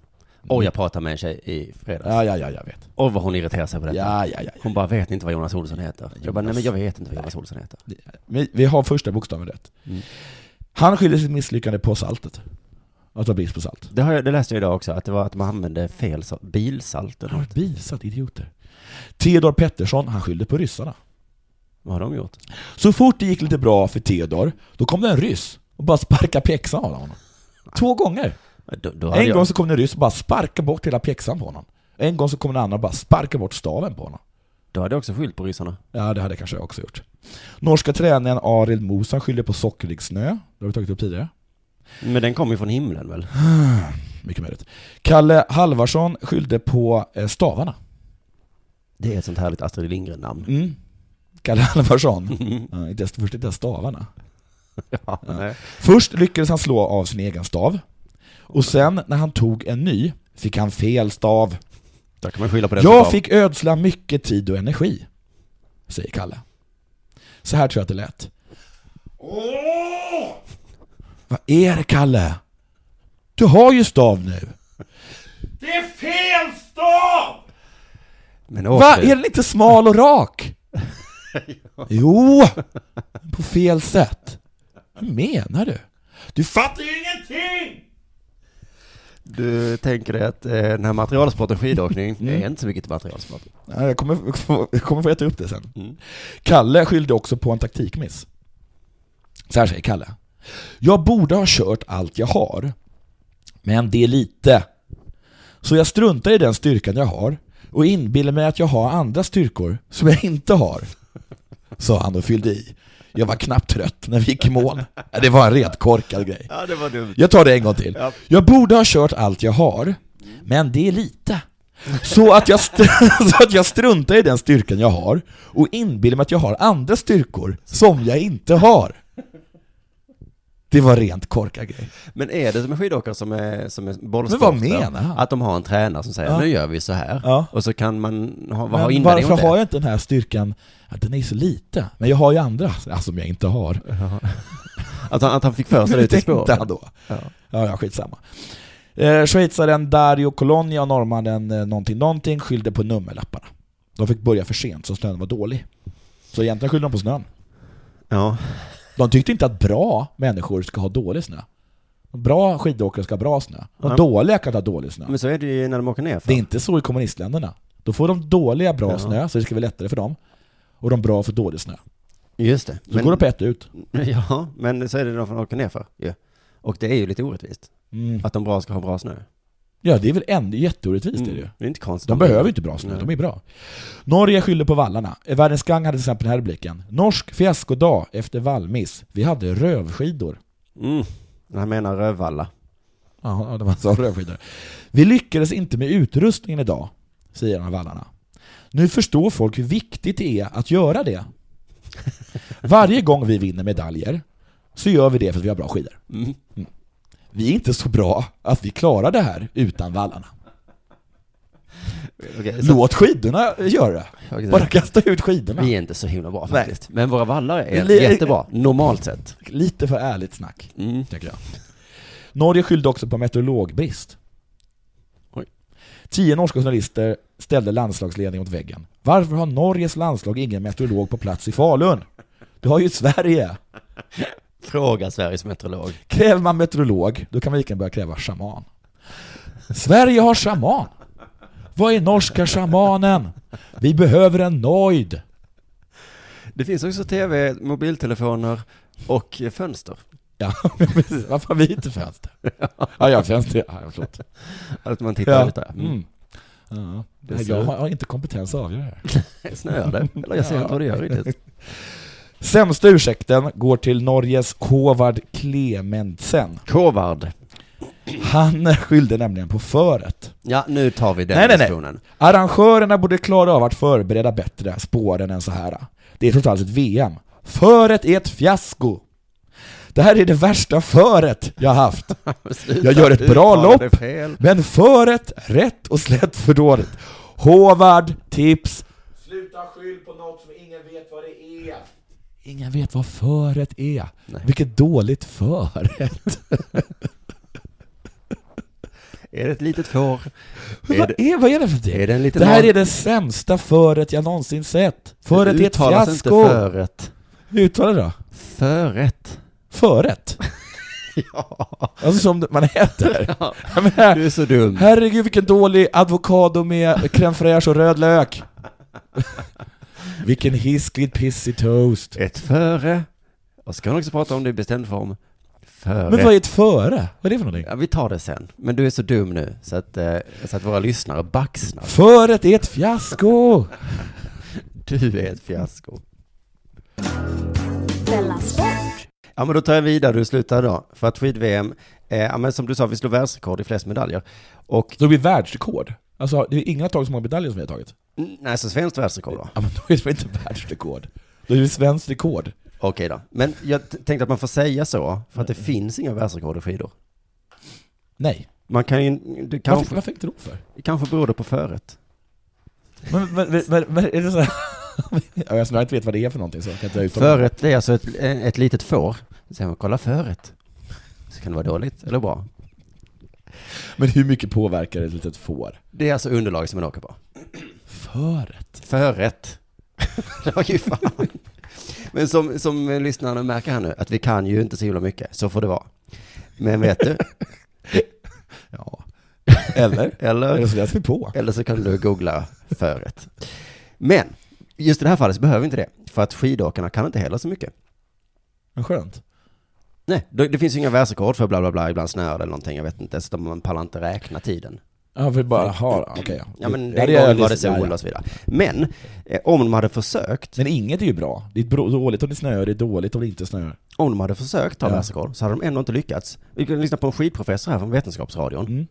Speaker 4: Oj, jag pratade med en tjej i fredags.
Speaker 5: Ja, ja, ja, jag vet.
Speaker 4: Oj, vad hon irriterar sig på detta.
Speaker 5: Ja, ja, ja. ja.
Speaker 4: Hon bara, vet ni inte vad Jonas Olsson heter? Jag bara, nej
Speaker 5: Jonas.
Speaker 4: men jag vet inte vad Jonas Olsson heter.
Speaker 5: Vi, vi har första bokstaven rätt.
Speaker 4: Mm.
Speaker 5: Han skyller sitt misslyckande på saltet. Att det var brist på salt.
Speaker 4: Det, har jag, det läste jag idag också, att det var att man använde fel sal- bilsalt eller
Speaker 5: Han har
Speaker 4: något.
Speaker 5: ett bisat, idioter. Theodor Pettersson, han skyllde på ryssarna.
Speaker 4: Vad har de gjort?
Speaker 5: Så fort det gick lite bra för Theodor, då kom det en ryss och bara sparkade pjäxan av honom. Två gånger.
Speaker 4: Eh, Då, då hade
Speaker 5: En
Speaker 4: jag-
Speaker 5: gång så kom det en ryss och bara sparkade bort hela pjäxan på honom. En gång så kom en annan och bara sparkade bort staven på honom.
Speaker 4: Då hade jag också skyllt på ryssarna.
Speaker 5: Ja, det hade kanske jag också gjort. Norska tränaren Arild Mosan skyller på sockrig snö. Det har vi tagit upp tidigare.
Speaker 4: Men den kom ju från himlen väl?
Speaker 5: Mycket möjligt. Kalle Halvarsson skyllde på eh, stavarna.
Speaker 4: Det är ett sånt härligt Astrid Lindgren-namn.
Speaker 5: Mm. Kalle Halvarsson. Ja, inte ens, först inte ens stavarna.
Speaker 4: Ja, nej.
Speaker 5: Först lyckades han slå av sin egen stav. Och sen när han tog en ny fick han fel stav.
Speaker 4: Då kan man skylla på den som
Speaker 5: Jag
Speaker 4: gav.
Speaker 5: fick ödsla mycket tid och energi, säger Kalle. Så här tror jag att det lät. Åh! Vad är det Kalle? Du har ju stav nu. Det är fel stav!
Speaker 4: Men åk
Speaker 5: Va?
Speaker 4: nu.
Speaker 5: Är den inte smal och rak? jo, på fel sätt. Hur menar du? Du fattar ju ingenting!
Speaker 4: Du tänker dig att eh, den här materialsporten skidåkning
Speaker 5: Mm.
Speaker 4: är inte så mycket till materialsport.
Speaker 5: Nej, Jag kommer, få- jag kommer få äta upp det sen. Kalle skyllde också på en taktikmiss. Så här säger Kalle. Jag borde ha kört allt jag har, men det är lite. Så jag struntar i den styrkan jag har och inbillar mig att jag har andra styrkor som jag inte har. Sa han och fyllde i. Jag var knappt trött när vi gick i mål. Ja, Det var en redkorkad grej.
Speaker 4: Ja, det var dumt.
Speaker 5: Jag tar det en gång till.
Speaker 4: Ja.
Speaker 5: Jag borde ha kört allt jag har, men det är lite. Så att, jag str- så att jag struntar i den styrkan jag har och inbillar mig att jag har andra styrkor som jag inte har. Det var rent korkad grej.
Speaker 4: Men är det som en skidåkare som är, som är
Speaker 5: Men
Speaker 4: bollsporter?
Speaker 5: vad menar han?
Speaker 4: Att de har en tränare som säger
Speaker 5: Ja.
Speaker 4: nu gör vi så här.
Speaker 5: Ja.
Speaker 4: Och så kan man ha,
Speaker 5: Men
Speaker 4: ha invändningar
Speaker 5: varför
Speaker 4: mot det.
Speaker 5: har jag inte den här styrkan? Ja, den är ju så lite. Men jag har ju andra ja, som jag inte har.
Speaker 4: Att han, att han fick för sig Alltså, det
Speaker 5: Hur
Speaker 4: ute i
Speaker 5: tänkte
Speaker 4: spåret.
Speaker 5: han då?
Speaker 4: Ja.
Speaker 5: Ja, ja, skitsamma. Eh, schweizaren Dario Colonia och norrmannen eh, någonting någonting skyllde på nummerlapparna. De fick börja för sent så snön var dålig. Så egentligen skyllde de på snön.
Speaker 4: Ja.
Speaker 5: De tyckte inte att bra människor ska ha dålig snö. Bra skidåkare ska ha bra snö. De
Speaker 4: Ja.
Speaker 5: dåliga kan inte ha dålig snö.
Speaker 4: Men så är det ju när de åker ner för.
Speaker 5: Det är inte så i kommunistländerna. Då får de dåliga bra
Speaker 4: Ja.
Speaker 5: snö, så det ska bli lättare för dem. Och de bra får dålig snö.
Speaker 4: Just det.
Speaker 5: Så går de på ett ut.
Speaker 4: Ja, men så är det de som åker ner för ju. Och det är ju lite orättvist.
Speaker 5: Mm.
Speaker 4: Att de bra ska ha bra snö.
Speaker 5: Ja, det är väl en, jätteorättvist är det ju.
Speaker 4: Mm. Det är inte konstigt.
Speaker 5: De behöver ju inte bra snö,
Speaker 4: Nej.
Speaker 5: de är bra. Norge skyller på vallarna. Världens Gang hade till exempel den här rubriken. Norsk fiaskodag efter vallmiss. Vi hade rövskidor.
Speaker 4: Mm. Han menar Rövalla.
Speaker 5: Ja, ja, det var så rövskidor. Vi lyckades inte med utrustningen idag, säger en av vallarna. Nu förstår folk hur viktigt det är att göra det. Varje gång vi vinner medaljer så gör vi det för att vi har bra skidor.
Speaker 4: Mm.
Speaker 5: Vi är inte så bra att vi klarar det här utan vallarna.
Speaker 4: Okej, så-
Speaker 5: Låt skidorna göra det.
Speaker 4: Okej, så-
Speaker 5: Bara kasta ut skidorna.
Speaker 4: Vi är inte så himla bra
Speaker 5: Nej.
Speaker 4: faktiskt. Men våra vallar är
Speaker 5: Li-
Speaker 4: jättebra, normalt sett.
Speaker 5: Lite för ärligt snack.
Speaker 4: Mm.
Speaker 5: tänker jag. Norge skyllde också på meteorologbrist.
Speaker 4: Oj.
Speaker 5: Tio norska journalister ställde landslagsledningen mot väggen. Varför har Norges landslag ingen meteorolog på plats i Falun? Det har ju Sverige.
Speaker 4: Fråga Sveriges meteorolog.
Speaker 5: Kräver man meteorolog, då kan man lika gärna börja kräva shaman. Sverige har shaman. Vad är norska shamanen? Vi behöver en nojd.
Speaker 4: Det finns också tv, mobiltelefoner och eh, fönster.
Speaker 5: Ja, precis. Varför har vi inte fönster? Ja, jag har fönster. Ja, förlåt.
Speaker 4: Att man tittar
Speaker 5: Ja.
Speaker 4: ut där. Mm.
Speaker 5: Mm. Ja.
Speaker 4: Det
Speaker 5: Nej,
Speaker 4: ser
Speaker 5: Jag
Speaker 4: ut.
Speaker 5: har har inte kompetens att avgöra det här.
Speaker 4: Snöar det? Eller jag ser inte vad det gör riktigt.
Speaker 5: Sämsta ursäkten går till Norges Håvard Klementsen.
Speaker 4: Kovard.
Speaker 5: Han skyllde nämligen på föret.
Speaker 4: Ja, nu tar vi den
Speaker 5: Nej, nej, nej.
Speaker 4: diskussionen.
Speaker 5: Arrangörerna borde klara av att förbereda bättre spåren än så här. Det är trots allt ett VM. Föret är ett fiasko! Det här är det värsta föret jag haft.
Speaker 4: Sluta,
Speaker 5: Jag gör ett bra
Speaker 4: uttala
Speaker 5: lopp.
Speaker 4: det fel.
Speaker 5: Men föret, rätt och slätt för dåligt. Håvard, tips. Sluta skyll på något som ingen vet vad det är. Ingen vet vad föret är.
Speaker 4: Nej.
Speaker 5: Vilket dåligt föret.
Speaker 4: Är det ett litet får? Är
Speaker 5: Vad
Speaker 4: det,
Speaker 5: är, vad är det för
Speaker 4: är
Speaker 5: det?
Speaker 4: det en liten
Speaker 5: Det här
Speaker 4: man?
Speaker 5: är det sämsta föret jag någonsin sett. Föret är ett
Speaker 4: uttalas
Speaker 5: fiasko.
Speaker 4: inte förrätt.
Speaker 5: Uttala det då.
Speaker 4: Förrätt?
Speaker 5: Föret.
Speaker 4: Ja.
Speaker 5: Alltså som man äter. Jag
Speaker 4: Du
Speaker 5: menar,
Speaker 4: är så dum.
Speaker 5: herregud vilken dålig avokado med crème fraîche och röd lök. Vilken hiskligt pissig toast.
Speaker 4: Ett före. Och ska hon också prata om det i bestämd form. Före.
Speaker 5: Men vad är ett före? Vad är det för någonting?
Speaker 4: Ja, vi tar det sen. Men du är så dum nu så att, eh, så att våra lyssnare baxnar.
Speaker 5: Föret är ett fiasko!
Speaker 4: Du är ett fiasko.
Speaker 3: Della Sport.
Speaker 4: Ja, men då tar jag vidare du slutar då. För att skid-VM, eh, ja, men som du sa, vi slog världsrekord i flest medaljer. Och,
Speaker 5: Så det blir världsrekord. Alltså, det är ingen har tagit så många medaljer som vi har tagit.
Speaker 4: mm, nej, så svenskt världsrekord då.
Speaker 5: Ja, men då är det väl inte världsrekord? Då är det svenskt rekord.
Speaker 4: Okej då. Men jag t- tänkte att man får säga så, för att det finns inga världsrekord i skidor.
Speaker 5: Nej.
Speaker 4: Man kan ju, det
Speaker 5: Varför,
Speaker 4: kanske,
Speaker 5: varför inte då för?
Speaker 4: kanske beror det på föret.
Speaker 5: Men, men, men, men, men är det så här? Ja, Eftersom jag inte vet vad det är för någonting så kan jag inte uttala mig.
Speaker 4: Föret det är alltså ett, ett litet får. Så säger man, kolla föret. Så kan det vara dåligt eller bra.
Speaker 5: Men hur mycket påverkar ett litet får?
Speaker 4: Det är alltså underlaget som man åker på.
Speaker 5: Föret?
Speaker 4: Förrätt. det var ju fan. Men som, som lyssnarna märker här nu, att vi kan ju inte så himla mycket. Så får det vara. Men vet du,
Speaker 5: Ja. Eller? Eller
Speaker 4: eller,
Speaker 5: så läser vi på.
Speaker 4: eller så kan du googla föret. Men, just i det här fallet så behöver vi inte det. För att skidåkarna kan inte heller så mycket.
Speaker 5: Men skönt.
Speaker 4: Nej, det, det finns ju inga världsrekord för bla bla bla, ibland snöar det eller någonting, jag vet inte. Så de- man pallar inte räkna tiden.
Speaker 5: Ja, vi bara, har okej. ja.
Speaker 4: Ja men
Speaker 5: det
Speaker 4: den
Speaker 5: är
Speaker 4: gången var det
Speaker 5: liksom- ja,
Speaker 4: sol
Speaker 5: ja.
Speaker 4: och så vidare. Men, eh, om de hade försökt,
Speaker 5: Men inget är ju bra. Det är bro- dåligt om det snöar, det är dåligt om det inte snöar.
Speaker 4: om de hade försökt ta
Speaker 5: Ja.
Speaker 4: världsrekord, så hade de ändå inte lyckats. Vi kan lyssna på en skidprofessor här från Vetenskapsradion.
Speaker 5: Mm.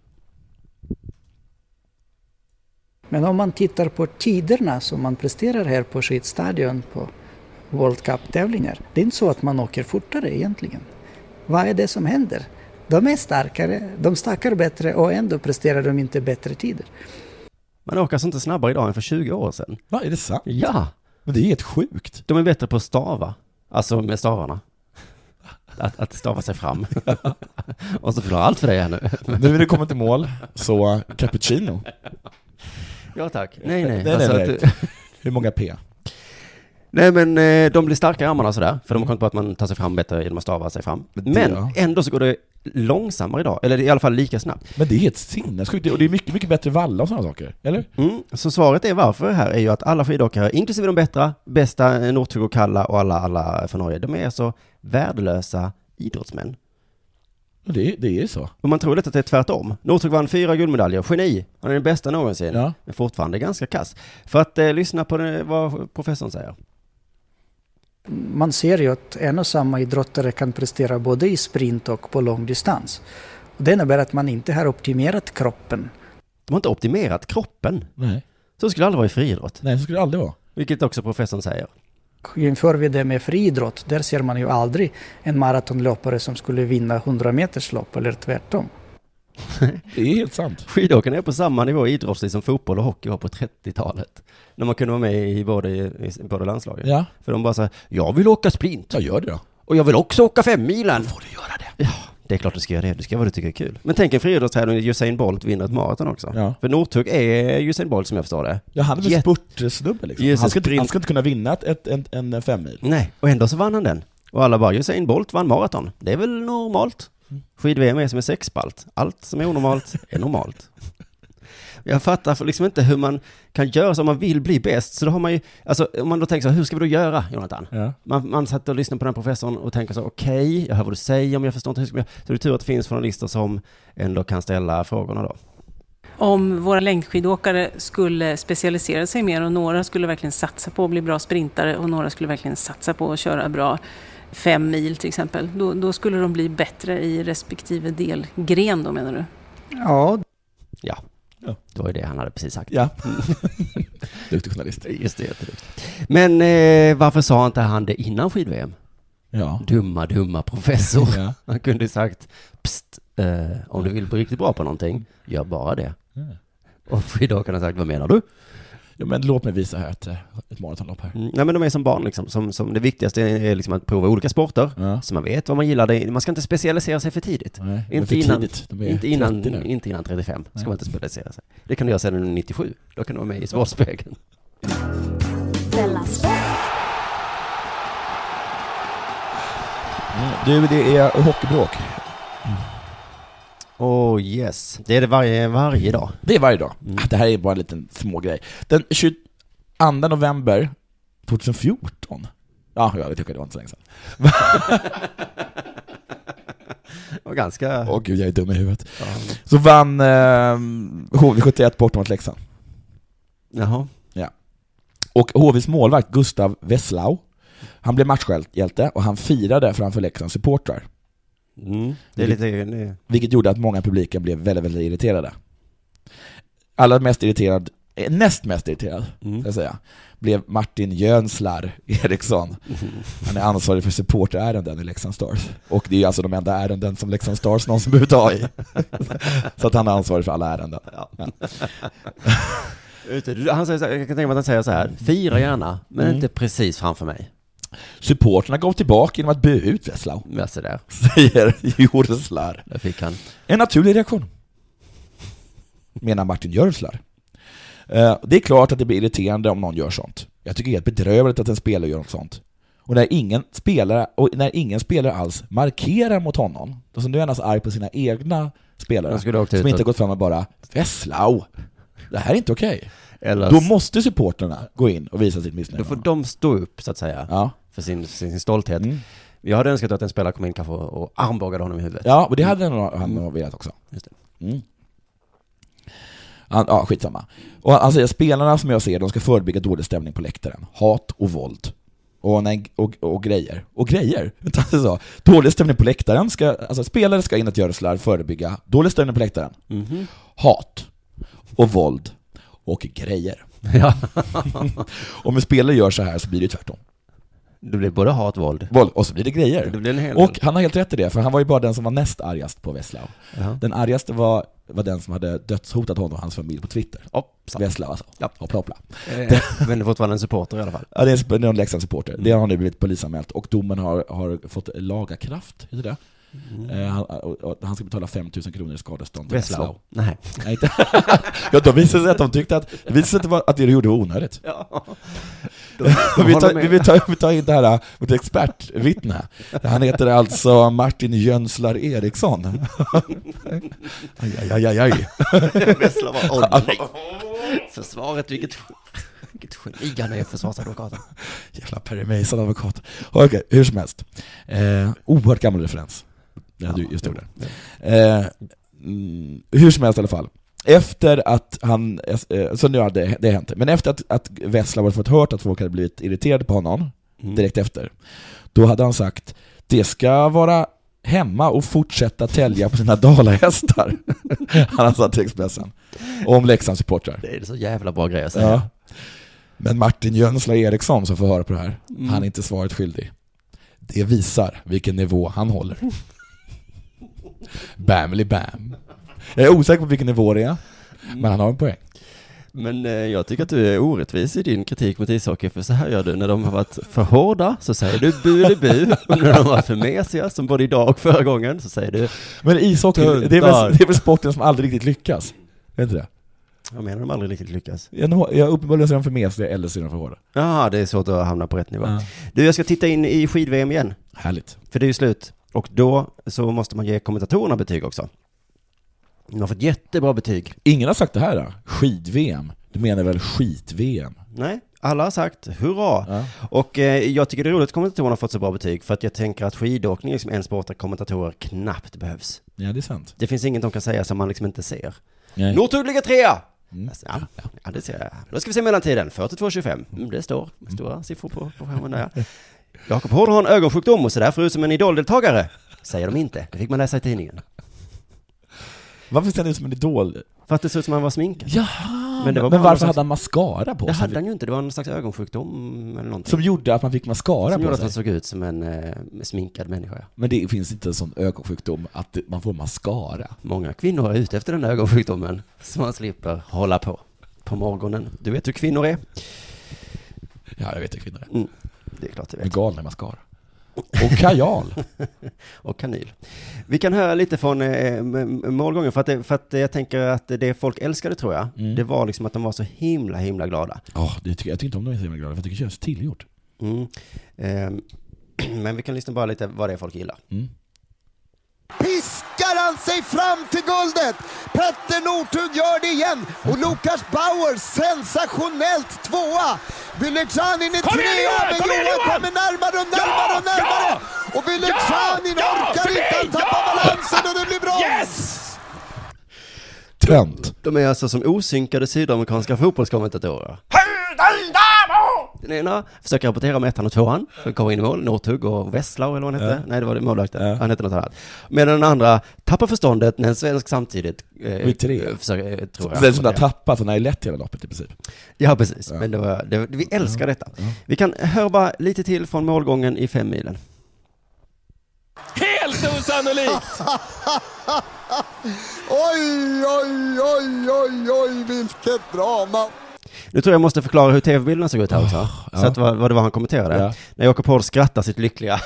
Speaker 2: Men om man tittar på tiderna som man presterar här på skidstadion på World Cup-tävlingar. Det är inte så att man åker fortare egentligen. Vad är det som händer? De är starkare, de stackar bättre och ändå presterar de inte bättre tider.
Speaker 4: Man åker alltså inte snabbare idag än för 20 år sedan.
Speaker 5: Va, är det sant?
Speaker 4: Ja!
Speaker 5: Men det är helt sjukt.
Speaker 4: De är bättre på att stava. Alltså med stavarna. Att, att stava sig fram. och så förklarar allt för dig här nu.
Speaker 5: Nu är det kommit till mål, så cappuccino.
Speaker 4: Ja tack. Nej nej.
Speaker 5: Nej,
Speaker 4: alltså
Speaker 5: nej,
Speaker 4: att,
Speaker 5: nej. Hur många P?
Speaker 4: nej men eh, de blir starkare i armarna sådär. För de har kommit på att man tar sig fram bättre genom att stava sig fram.
Speaker 5: Men det,
Speaker 4: Men
Speaker 5: ja.
Speaker 4: ändå så går det långsammare idag. Eller i alla fall lika snabbt.
Speaker 5: Men det är helt sinnessjukt, och det är mycket, mycket bättre valla och sådana saker, eller?
Speaker 4: Mm. Så svaret är varför här är ju att alla skidåkare, inklusive de bättre, bästa eh, Northug och Kalla och alla, alla från Norge, de är alltså värdelösa idrottsmän.
Speaker 5: Och det, det är ju så.
Speaker 4: Och man tror lätt att det är tvärtom. Northug vann fyra guldmedaljer, geni. Han är den bästa någonsin.
Speaker 5: Ja.
Speaker 4: Men fortfarande ganska kass. För att eh, lyssna på det, vad professorn säger.
Speaker 2: Man ser ju att en och samma idrottare kan prestera både i sprint och på långdistans. Det innebär att man inte har optimerat kroppen
Speaker 4: De har inte optimerat kroppen.
Speaker 5: Nej,
Speaker 4: Så skulle det aldrig vara i friidrott.
Speaker 5: nej så skulle det aldrig vara.
Speaker 4: Vilket också professorn säger.
Speaker 2: Jämför vi det med friidrott, där ser man ju aldrig en maratonlöpare som skulle vinna 100 meters lopp eller tvärtom.
Speaker 5: Det är helt sant.
Speaker 4: Skidåkarna är på samma nivå i idrottsliv som fotboll och hockey var på 30-talet. När man kunde vara med i både, i både landslagen.
Speaker 5: Ja,
Speaker 4: För de bara säger, jag vill åka sprint.
Speaker 5: jag gör det då.
Speaker 4: Och jag vill också åka femmilen. Får du göra det? Ja, det är klart du ska göra det. Du ska göra vad du tycker är kul. Men tänk en friidrottstävling där Usain Bolt vinner ett maraton också.
Speaker 5: Ja.
Speaker 4: För Northug är Usain Bolt som jag förstår det.
Speaker 5: Ja, han är väl
Speaker 4: Jätte-
Speaker 5: spurtsnubbe liksom.
Speaker 4: Jesus
Speaker 5: han, ska, inte-
Speaker 4: Christ.
Speaker 5: han ska inte kunna vinna ett, ett, en, en femmil.
Speaker 4: Nej, och ändå så vann han den. Och alla bara, Usain Bolt vann maraton. Det är väl normalt? Skid-VM är som en sexspalt. Allt som är onormalt är normalt. Jag fattar för liksom inte hur man kan göra så om man vill bli bäst. Så då har man ju, alltså om man då tänker så här, hur ska vi då göra, Jonathan?
Speaker 5: Ja.
Speaker 4: Man, man satt och lyssnade på den professorn och tänker så, okej, jag hör vad du säger, men jag förstår inte hur ska jag Så det är tur att det finns journalister som ändå kan ställa frågorna då.
Speaker 6: Om våra längdskidåkare skulle specialisera sig mer och några skulle verkligen satsa på att bli bra sprintare och några skulle verkligen satsa på att köra bra fem mil till exempel, då, då skulle de bli bättre i respektive delgren då menar du?
Speaker 2: Ja,
Speaker 4: Ja.
Speaker 5: Ja.
Speaker 4: Det var ju det han hade precis sagt.
Speaker 5: Ja. Duktig journalist.
Speaker 4: Just det, jätteduktigt. Men eh, varför sa inte han det innan skid-VM?
Speaker 5: Ja.
Speaker 4: Dumma, dumma professor.
Speaker 5: ja.
Speaker 4: Han kunde ju sagt, pst, eh, om du vill bli riktigt bra på någonting, gör bara det.
Speaker 5: Mm.
Speaker 4: Och skidåkarna har sagt, vad menar du?
Speaker 5: Ja, men låt mig visa här ett, eh, ett maratonlopp här.
Speaker 4: Mm, nej men de är som barn liksom, som, som det viktigaste är liksom att prova olika sporter.
Speaker 5: Ja.
Speaker 4: Så man vet vad man gillar, Det- man ska inte specialisera sig för tidigt.
Speaker 5: Nej, det är
Speaker 4: Inte
Speaker 5: för
Speaker 4: innan-
Speaker 5: tidigt. De är
Speaker 4: Inte innan,
Speaker 5: 30 nu.
Speaker 4: inte innan 35 ska
Speaker 5: Nej.
Speaker 4: man inte specialisera sig. Det kan du göra sedan 97, då kan du vara med i Sportspegeln.
Speaker 3: Della Sport.
Speaker 5: Mm. Du, det är hockeybråk.
Speaker 4: Oh yes, det är det varje, varje dag.
Speaker 5: Det är varje dag.
Speaker 4: Mm.
Speaker 5: Ah, Det här är bara en liten smågrej. Den 22 november 2014. Ja, jag vet inte, det var inte så länge sedan.
Speaker 4: Och ganska...
Speaker 5: Åh gud, jag är dum i huvudet. Så vann eh, HV71 bort mot Leksand.
Speaker 4: Jaha.
Speaker 5: Och HVs målvakt Gustav Wesslau, han blev matchhjälte och han firade framför Leksands supportrar.
Speaker 4: Mm. Det är lite... det-
Speaker 5: Vilket gjorde att många i publiken blev väldigt, väldigt irriterade. Allra mest irriterad, eh, näst mest irriterad,
Speaker 4: Mm.
Speaker 5: ska jag säga, blev Martin Jönslar Eriksson. Han är ansvarig för supportärenden i Leksand Stars. Och det är alltså de enda ärenden som Leksand Stars någonsin behöver ta i. Så att han är ansvarig för alla ärenden.
Speaker 4: Ja. Ute. Du, Han säger så här, jag kan tänka mig att han säger så här, fira gärna, men
Speaker 5: Mm.
Speaker 4: inte precis framför mig.
Speaker 5: Supporterna gav tillbaka genom att bua ut Wesslau,
Speaker 4: Men så där,
Speaker 5: säger Jönslar.
Speaker 4: där fick han.
Speaker 5: En naturlig reaktion. Menar Martin Jörslar. Eh, Det är klart att det blir irriterande om någon gör sånt. Jag tycker det är helt bedrövligt att en spelare gör något sånt. Och när ingen spelare, och när ingen spelare alls markerar mot honom, alltså nu är han alltså arg på sina egna spelare
Speaker 4: Jag skulle ha åkt ut
Speaker 5: som inte har
Speaker 4: och-
Speaker 5: gått fram och bara ”Vesslau, det här är inte okej”.
Speaker 4: Eller,
Speaker 5: Då
Speaker 4: då,
Speaker 5: måste supporterna gå in och visa sitt missnöje.
Speaker 4: får de stå upp så att säga,
Speaker 5: Ja.
Speaker 4: för sin, sin, sin stolthet.
Speaker 5: Mm.
Speaker 4: Jag hade önskat att en spelare kom in kanske och Mm. och armbågade honom i huvudet.
Speaker 5: Ja, och det hade han nog- han nog velat också.
Speaker 4: Just
Speaker 5: Mm. Han, ja, skitsamma. Och han säger spelarna som jag ser de ska förebygga dålig stämning på läktaren. Hat och våld. Och, nej, och, och grejer. Och grejer? Utan han sa, dålig stämning på läktaren ska, alltså spelare ska inåt göra förebygga dålig stämning på läktaren.
Speaker 4: Mm-hmm.
Speaker 5: Hat. Och våld. Och grejer.
Speaker 4: Ja.
Speaker 5: Om en spelare gör så här så blir det tvärtom.
Speaker 4: Det blir både hat och våld.
Speaker 5: Våld, och så blir det grejer.
Speaker 4: Det blir en hel
Speaker 5: Och
Speaker 4: del.
Speaker 5: han har helt rätt i det, för han var ju bara den som var näst argast på Veslau.
Speaker 4: Ja.
Speaker 5: Den argaste var, var den som hade dödshotat honom och hans familj på Twitter.
Speaker 4: Hoppsan.
Speaker 5: Veslau alltså.
Speaker 4: Ja.
Speaker 5: Hoppla, hoppla.
Speaker 4: Eh, Men det är fortfarande en supporter i alla fall.
Speaker 5: Ja, det är en sp- det är en Leksandssupporter.
Speaker 4: Mm.
Speaker 5: Det har nu blivit polisanmält och domen har, har fått laga kraft, heter det?
Speaker 4: Mm.
Speaker 5: Eh, han, och, och, han ska betala 5 000 kronor i skadestånd till
Speaker 4: Breslau.
Speaker 5: Veslau.
Speaker 4: Nej.
Speaker 5: Nej, inte. ja, de visade sig att de tyckte att, det visade sig att det, var, att det du gjorde var onödigt.
Speaker 4: Ja.
Speaker 5: vi,
Speaker 4: håller
Speaker 5: tar,
Speaker 4: med.
Speaker 5: vi, tar, vi tar in det här, vårt expertvittne. Han heter alltså Martin Jönslar Eriksson. Aj, aj, aj, aj, aj.
Speaker 4: Breslau var... Åh, nej. Försvaret, vilket... Vilket geni han är, försvarsadvokaten.
Speaker 5: Jävla Perry Mason advokat. Okej, hur som helst. Eh, oerhört gammal referens. Ja, du just gjorde. Eh, mm, hur som helst i alla fall. Efter att han, eh, så nu har det, det hänt, men efter att, att Vessla hade fått hört att folk hade blivit irriterade på honom,
Speaker 4: Mm.
Speaker 5: direkt efter, då hade han sagt det ska vara hemma och fortsätta tälja på sina dalahästar. han har sagt till Expressen. Om Leksandssupportrar.
Speaker 4: Det är så jävla bra grej att säga.
Speaker 5: Ja. Men Martin Jönsla Eriksson som får höra på det här,
Speaker 4: Mm.
Speaker 5: han är inte svaret skyldig. Det visar vilken nivå han håller. Bamly bam. Jag är osäker på vilken nivå det är,
Speaker 4: Mm.
Speaker 5: men han har en poäng.
Speaker 4: Men eh, jag tycker att du är orättvis i din kritik mot ishockey, för så här gör du. När de har varit för hårda så säger du bu eller bu. Och när de har varit för mesiga, som både idag och förra gången, så säger du,
Speaker 5: Men ishockey, det är,
Speaker 4: Tuntar.
Speaker 5: väl, det är väl sporten som aldrig riktigt lyckas? Är inte det?
Speaker 4: jag menar de aldrig riktigt lyckas.
Speaker 5: Jag, nå- jag uppenbarligen så är de för mesiga eller så är de för hårda.
Speaker 4: Ja, det är svårt att hamna på rätt nivå. Du, jag ska titta in i skid-VM igen,
Speaker 5: Härligt.
Speaker 4: för det är ju slut. Och då så måste man ge kommentatorerna betyg också. De har fått jättebra betyg.
Speaker 5: Ingen har sagt det här då? Skid-VM? Du menar väl skit-VM?
Speaker 4: Nej, alla har sagt hurra. Och eh, jag tycker det är roligt att kommentatorerna har fått så bra betyg, för att jag tänker att skidåkning är liksom en sport där kommentatorer knappt behövs.
Speaker 5: Ja, det är sant.
Speaker 4: Det finns inget de kan säga som man liksom inte ser.
Speaker 5: Nej. Mm.
Speaker 4: Northug ligger trea! Alltså, ja, ja, det ser jag. Då ska vi se mellantiden, 42.25. Mm, det står stora siffror på, på skärmen där. ja. Jakob Hård har en ögonsjukdom och ser därför ut som en idoldeltagare. Säger de inte, det fick man läsa i tidningen.
Speaker 5: Varför ser han ut som en idol?
Speaker 4: För att det ser ut som han var sminkad.
Speaker 5: Jaha!
Speaker 4: Men
Speaker 5: Men,
Speaker 4: det var bara
Speaker 5: men
Speaker 4: någon
Speaker 5: varför
Speaker 4: slags-
Speaker 5: hade han mascara på
Speaker 4: Det
Speaker 5: sig?
Speaker 4: hade han ju inte, det var någon slags ögonsjukdom eller någonting.
Speaker 5: Som gjorde att man fick mascara
Speaker 4: Som gjorde
Speaker 5: på
Speaker 4: att han
Speaker 5: sig.
Speaker 4: såg ut som en eh, sminkad människa. ja.
Speaker 5: Men det finns inte en sån ögonsjukdom att det- man får mascara.
Speaker 4: Många kvinnor är ute efter den där ögonsjukdomen, så man slipper hålla på på morgonen. Du vet hur kvinnor är?
Speaker 5: Ja, jag vet hur kvinnor är.
Speaker 4: Mm, det är klart du
Speaker 5: De är
Speaker 4: vet.
Speaker 5: galna i mascara. Och kajal.
Speaker 4: och kanyl. Vi kan höra lite från eh, m- m- målgången, för att, det, för att jag tänker att det folk älskade tror jag, det var liksom att de var så himla, himla glada.
Speaker 5: Ja, det tycker jag, jag tycker inte om de är så himla glada, för jag tycker det känns tillgjort.
Speaker 4: Mm. Ehm, Men vi kan lyssna bara lite vad det är folk gillar.
Speaker 7: piskar han sig fram till guldet. Petter Northug gör det igen och Lukas Bauer sensationellt tvåa. Wyleczanin är trea, men Johan kommer närmare och närmare och närmare. Och Wyleczanin orkar inte, han tappar balansen och det blir brons.
Speaker 5: Trent.
Speaker 4: De är alltså som osynkade sydamerikanska fotbollskommentatorer. Den ena försöker rapportera om ettan och tvåan, som kommer in i mål, Northug och Westlau eller vad han hette. Nej, det var det målvakten. Han hette något annat. Medan den andra tappar förståndet när en svensk samtidigt... Eh,
Speaker 5: Vid tre.
Speaker 4: Försöker, eh, tror jag.
Speaker 5: Den som har tappat, han har ju lett hela loppet i princip.
Speaker 4: Ja, precis. Men det var, det, vi älskar detta. Vi kan höra bara lite till från målgången i fem milen.
Speaker 8: Helt osannolikt!
Speaker 7: Oj, oj, oj, oj, oj, vilket drama.
Speaker 4: Nu tror jag måste förklara hur tv-bilderna såg ut här också. Så att vad, vad det var han kommenterade.
Speaker 5: Ah, Ja.
Speaker 4: När Jakob Hård skrattar sitt lyckliga.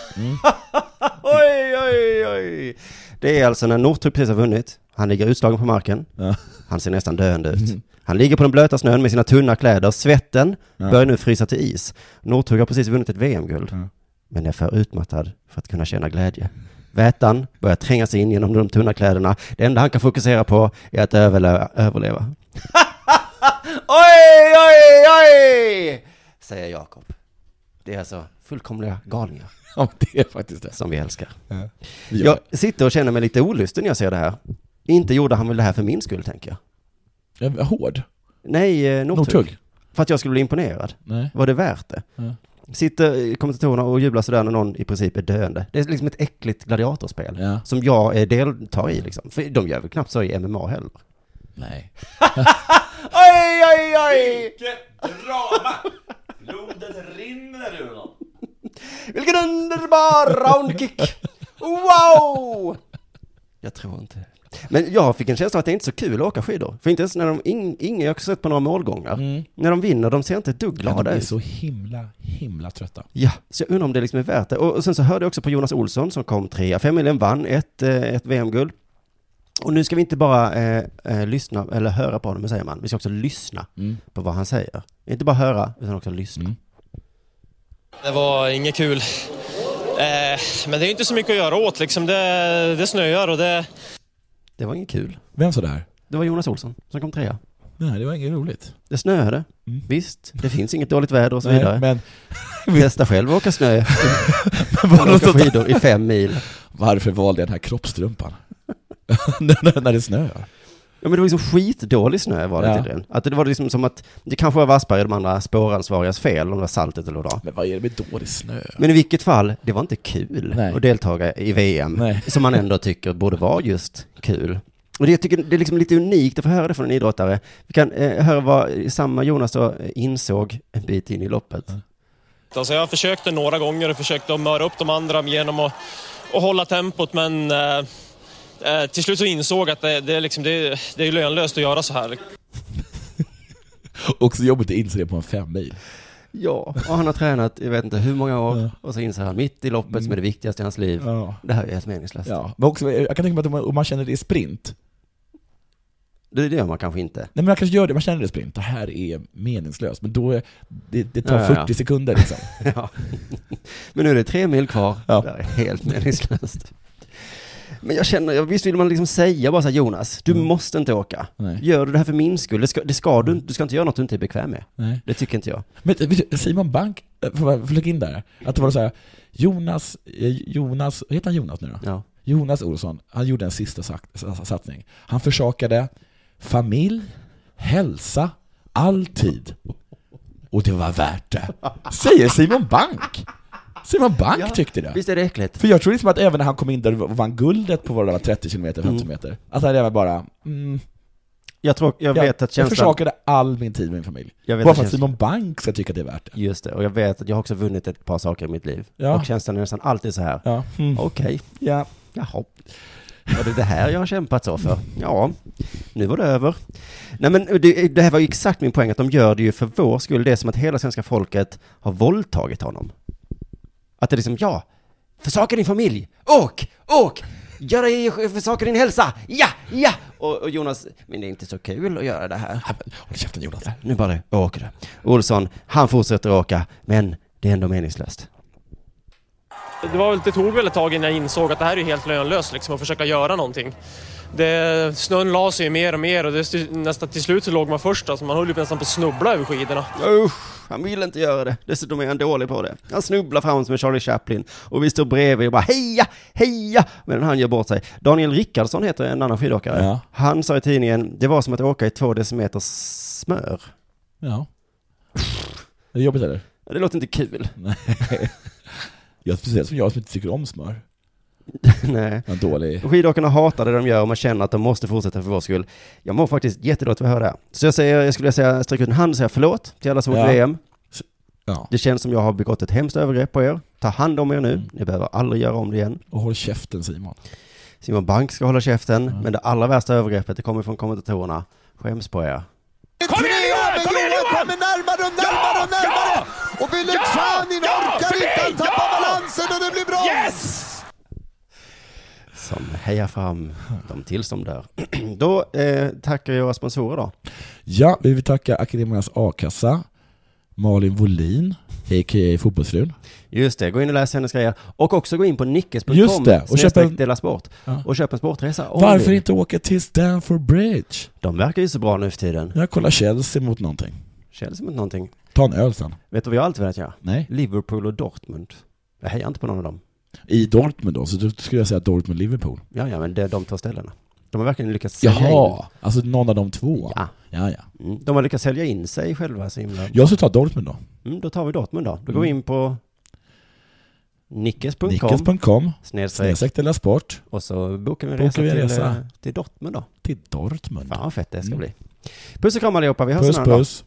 Speaker 4: oj, oj, oj. Det är alltså när Northug precis har vunnit. Han ligger utslagen på marken.
Speaker 5: Ja.
Speaker 4: Han ser nästan döende ut. Han ligger på den blöta snön med sina tunna kläder. Svetten börjar nu frysa till is. Northug har precis vunnit ett VM-guld. Men är för utmattad för att kunna känna glädje. Vätan börjar tränga sig in genom de tunna kläderna. Det enda han kan fokusera på är att överleva. överleva. oj, oj, oj! Säger Jakob. Det är alltså
Speaker 5: Mm.
Speaker 4: fullkomliga galningar
Speaker 5: Ja, det är faktiskt det.
Speaker 4: som vi älskar.
Speaker 5: Vi gör
Speaker 4: Jag sitter och känner mig lite olusten när jag ser det här. Inte gjorde han väl det här för min skull, tänker jag.
Speaker 5: Jag var Hård?
Speaker 4: Nej, eh, Northug.
Speaker 5: Northug?
Speaker 4: För att jag skulle bli imponerad.
Speaker 5: Nej.
Speaker 4: Var det värt det?
Speaker 5: Ja.
Speaker 4: Sitter kommentatorerna och jublar sådär när någon i princip är döende. Det är liksom ett äckligt gladiatorspel.
Speaker 5: Ja.
Speaker 4: Som jag eh, deltar i liksom. För de gör väl knappt så i MMA heller.
Speaker 5: Nej.
Speaker 8: Oj, oj, oj! Vilket drama! Blodet rinner ur honom.
Speaker 4: Vilken underbar roundkick! Wow! Jag tror inte. Men jag fick en känsla av att det är inte är så kul att åka skidor. För inte ens när de, in, ingen, jag har sett på några målgångar.
Speaker 8: Mm.
Speaker 4: När de vinner, de ser inte ett dugg
Speaker 5: Men
Speaker 4: glada
Speaker 5: de Mm. är
Speaker 4: ut.
Speaker 5: så himla, himla trötta.
Speaker 4: Ja, så jag undrar om det liksom är värt det. Och och sen så hörde jag också på Jonas Olsson som kom trea. Femmiljen vann ett, eh, ett VM-guld. Och nu ska vi inte bara eh, eh, lyssna, eller höra på honom, hur säger man? Vi ska också lyssna
Speaker 5: Mm.
Speaker 4: på vad han säger. Inte bara höra, utan också lyssna.
Speaker 9: Det var inget kul. Eh, men det är inte så mycket att göra åt. Liksom. Det, det snöar och det...
Speaker 4: Det var inget kul.
Speaker 5: Vem sa det här?
Speaker 4: Det var Jonas Olsson som kom trea.
Speaker 5: Nej, det var inget roligt.
Speaker 4: Det snöade. Visst, det finns inget dåligt väder och så
Speaker 5: Mm. Nej,
Speaker 4: vidare.
Speaker 5: men
Speaker 4: Testa själv att åka snö. åka skidor i fem mil.
Speaker 5: varför valde jag den här kroppstrumpan? när, när, när det snöar?
Speaker 4: Ja men det var liksom skitdålig snö var det
Speaker 5: Ja.
Speaker 4: tydligen. Att det var liksom som att, det kanske var Wassberg och de andra spåransvarigas fel om det var saltet eller vad det var.
Speaker 5: Men vad är det med dålig snö?
Speaker 4: Men i vilket fall, det var inte kul
Speaker 5: Typ. Nej.
Speaker 4: att deltaga i VM,
Speaker 5: Nej.
Speaker 4: som man ändå tycker borde vara just kul. Och det, jag tycker det är liksom lite unikt att få höra det från en idrottare. Vi kan eh, höra vad samma Jonas då eh, insåg en bit in i loppet.
Speaker 9: Alltså jag försökte några gånger och försökte att möra upp de andra genom att, att hålla tempot, men eh, eh, till slut så insåg jag att det, det, är liksom, det, det är lönlöst att göra så här.
Speaker 5: Också jobbigt att inse det på en femmil.
Speaker 4: Ja, och han har tränat, jag vet inte hur många år, och så inser han mitt i loppet som är det viktigaste i hans liv.
Speaker 5: Mm. Ja.
Speaker 4: Det här är helt meningslöst.
Speaker 5: ja. Men också, jag kan tänka mig att om man, om man känner det i sprint,
Speaker 4: Det, det gör man kanske inte.
Speaker 5: Nej men man kanske gör det, man känner det i sprint, det här är meningslöst, men då, är, det, det tar
Speaker 4: Ja, ja, ja.
Speaker 5: 40 sekunder liksom.
Speaker 4: Ja. Men nu är det tre mil kvar.
Speaker 5: Ja.
Speaker 4: Det här är helt meningslöst. Men jag känner, ja, visst vill man liksom säga bara så här, Jonas,
Speaker 5: Mm.
Speaker 4: du måste inte åka.
Speaker 5: Nej.
Speaker 4: Gör du det här för min skull? Det ska, det ska du, inte- du ska inte göra något du inte är bekväm med.
Speaker 5: Nej.
Speaker 4: Det tycker inte jag.
Speaker 5: Men vet du, Simon Bank, eh, får jag flika in där? Att det var så här, Jonas, eh, Jonas, vad heter han Jonas nu då?
Speaker 4: Ja.
Speaker 5: Jonas Olsson, han gjorde en sista sak- sa- satsning. Han försakade familj, hälsa, all tid. Och det var värt det. Säger Simon Bank! Simon Bank tyckte det.
Speaker 4: Visst är det äckligt?
Speaker 5: För jag tror liksom att även när han kom in där och vann guldet på våra 30 km, 50
Speaker 4: Mm.
Speaker 5: meter, att han även bara mm,
Speaker 4: Jag, tror, jag
Speaker 5: ja,
Speaker 4: vet att
Speaker 5: jag
Speaker 4: känslan...
Speaker 5: försakade all min tid med min familj.
Speaker 4: Jag vet
Speaker 5: Bara
Speaker 4: att
Speaker 5: för att
Speaker 4: känslan-
Speaker 5: Simon Bank ska tycka att det är värt det.
Speaker 4: Just det, och jag vet att jag har också vunnit ett par saker i mitt liv.
Speaker 5: Ja.
Speaker 4: Och känslan är nästan alltid så här.
Speaker 5: Ja. Mm.
Speaker 4: Okej,
Speaker 5: ja.
Speaker 4: Jaha. Var det det här jag har kämpat så för? Ja, nu var det över. Nej men det, det här var ju exakt min poäng, att de gör det ju för vår skull. Det är som att hela svenska folket har våldtagit honom. Att det är liksom, ja, försaka din familj, åk, åk, gör dig, försaka din hälsa, ja, ja! Och, och Jonas, men det är inte så kul att göra det här.
Speaker 5: Håll käften Jonas.
Speaker 4: Nu bara det, åker du. Olsson, han fortsätter åka, men det är ändå meningslöst.
Speaker 9: Det, var, väl- det tog väl ett tag innan jag insåg att det här är helt lönlöst liksom, att försöka göra någonting. Det, snön la sig ju mer och mer och det, nästan till slut så låg man först. Alltså, man höll ju nästan på att snubbla över skidorna.
Speaker 4: Usch, han vill inte göra det. Dessutom är han dålig på det. Han snubblar fram som en Charlie Chaplin och vi står bredvid och bara heja, heja, medan han gör bort sig. Daniel Rickardsson heter en annan skidåkare.
Speaker 5: Ja.
Speaker 4: Han sa i tidningen, det var som att åka i två decimeter smör.
Speaker 5: Ja. Är det jobbigt eller?
Speaker 4: Det låter inte kul.
Speaker 5: Ja, speciellt som jag som inte tycker om smör.
Speaker 4: Nej.
Speaker 5: Jag är dålig.
Speaker 4: Skidåkarna hatar det de gör och man känner att de måste fortsätta för vår skull. Jag mår faktiskt jättedåligt för att höra det här. Så jag, säger, jag skulle säga, sträck ut en hand och säga förlåt till alla som åkt
Speaker 5: Ja.
Speaker 4: VM.
Speaker 5: Ja.
Speaker 4: Det känns som jag har begått ett hemskt övergrepp på er. Ta hand om er nu.
Speaker 5: Mm.
Speaker 4: Ni behöver aldrig göra om det igen.
Speaker 5: Och håll käften Simon.
Speaker 4: Simon Bank ska hålla käften, men det allra värsta övergreppet det kommer från kommentatorerna. Skäms på er.
Speaker 8: Kom
Speaker 7: Tre
Speaker 8: igen, Johan!
Speaker 7: år, men
Speaker 8: Kom igen,
Speaker 7: Johan
Speaker 8: Johan!
Speaker 7: kommer närmare och närmare och
Speaker 8: Ja!
Speaker 7: närmare. Och
Speaker 8: Ja!
Speaker 7: Vyleksanin
Speaker 8: Ja!
Speaker 7: orkar
Speaker 8: För
Speaker 7: inte,
Speaker 8: dig!
Speaker 7: han tappar
Speaker 8: Ja!
Speaker 7: balansen och det blir brons!
Speaker 8: Yes!
Speaker 4: Som hejar fram dem tills de dör. då eh, tackar jag våra sponsorer då.
Speaker 5: Ja, vi vill tacka Akademias A-kassa, Malin Wollin, a.k.a. Fotbollsfrun.
Speaker 4: Just det, gå in och läs hennes grejer. Och också gå in på nickes.com
Speaker 5: Just det, och köp
Speaker 4: snedstreck
Speaker 5: en-
Speaker 4: dela sport.
Speaker 5: Ja.
Speaker 4: Och köp en sportresa. om
Speaker 5: Varför
Speaker 4: ni-
Speaker 5: inte åka till Stamford Bridge?
Speaker 4: De verkar ju så bra nu för tiden.
Speaker 5: Jag kollar Chelsea mot någonting.
Speaker 4: Känns som inte någonting.
Speaker 5: Ta en öl sen.
Speaker 4: Vet du vad jag alltid velat göra?
Speaker 5: Nej.
Speaker 4: Liverpool och Dortmund. Jag hejar inte på någon av dem.
Speaker 5: I Dortmund då, så då skulle jag säga Dortmund-Liverpool.
Speaker 4: Ja, ja, men det är de två ställena. De har verkligen lyckats sälja in.
Speaker 5: Jaha, alltså någon av de två?
Speaker 4: Ja.
Speaker 5: ja. ja.
Speaker 4: Mm, de har lyckats sälja in sig själva så himla...
Speaker 5: Jag skulle ta Dortmund då.
Speaker 4: Mm, då tar vi Dortmund då. Då går vi
Speaker 5: Mm.
Speaker 4: in på nickes.com
Speaker 5: Nickels.com,
Speaker 4: snedstreck
Speaker 5: snedstreck eller sport,
Speaker 4: och så bokar vi en resa,
Speaker 5: Bokar vi en
Speaker 4: till,
Speaker 5: resa.
Speaker 4: eh, till Dortmund då.
Speaker 5: till Dortmund.
Speaker 4: Fan vad fett det ska
Speaker 5: Mm.
Speaker 4: bli. Puss och kram allihopa, vi hörs en
Speaker 5: Puss
Speaker 4: annan dag.
Speaker 5: puss.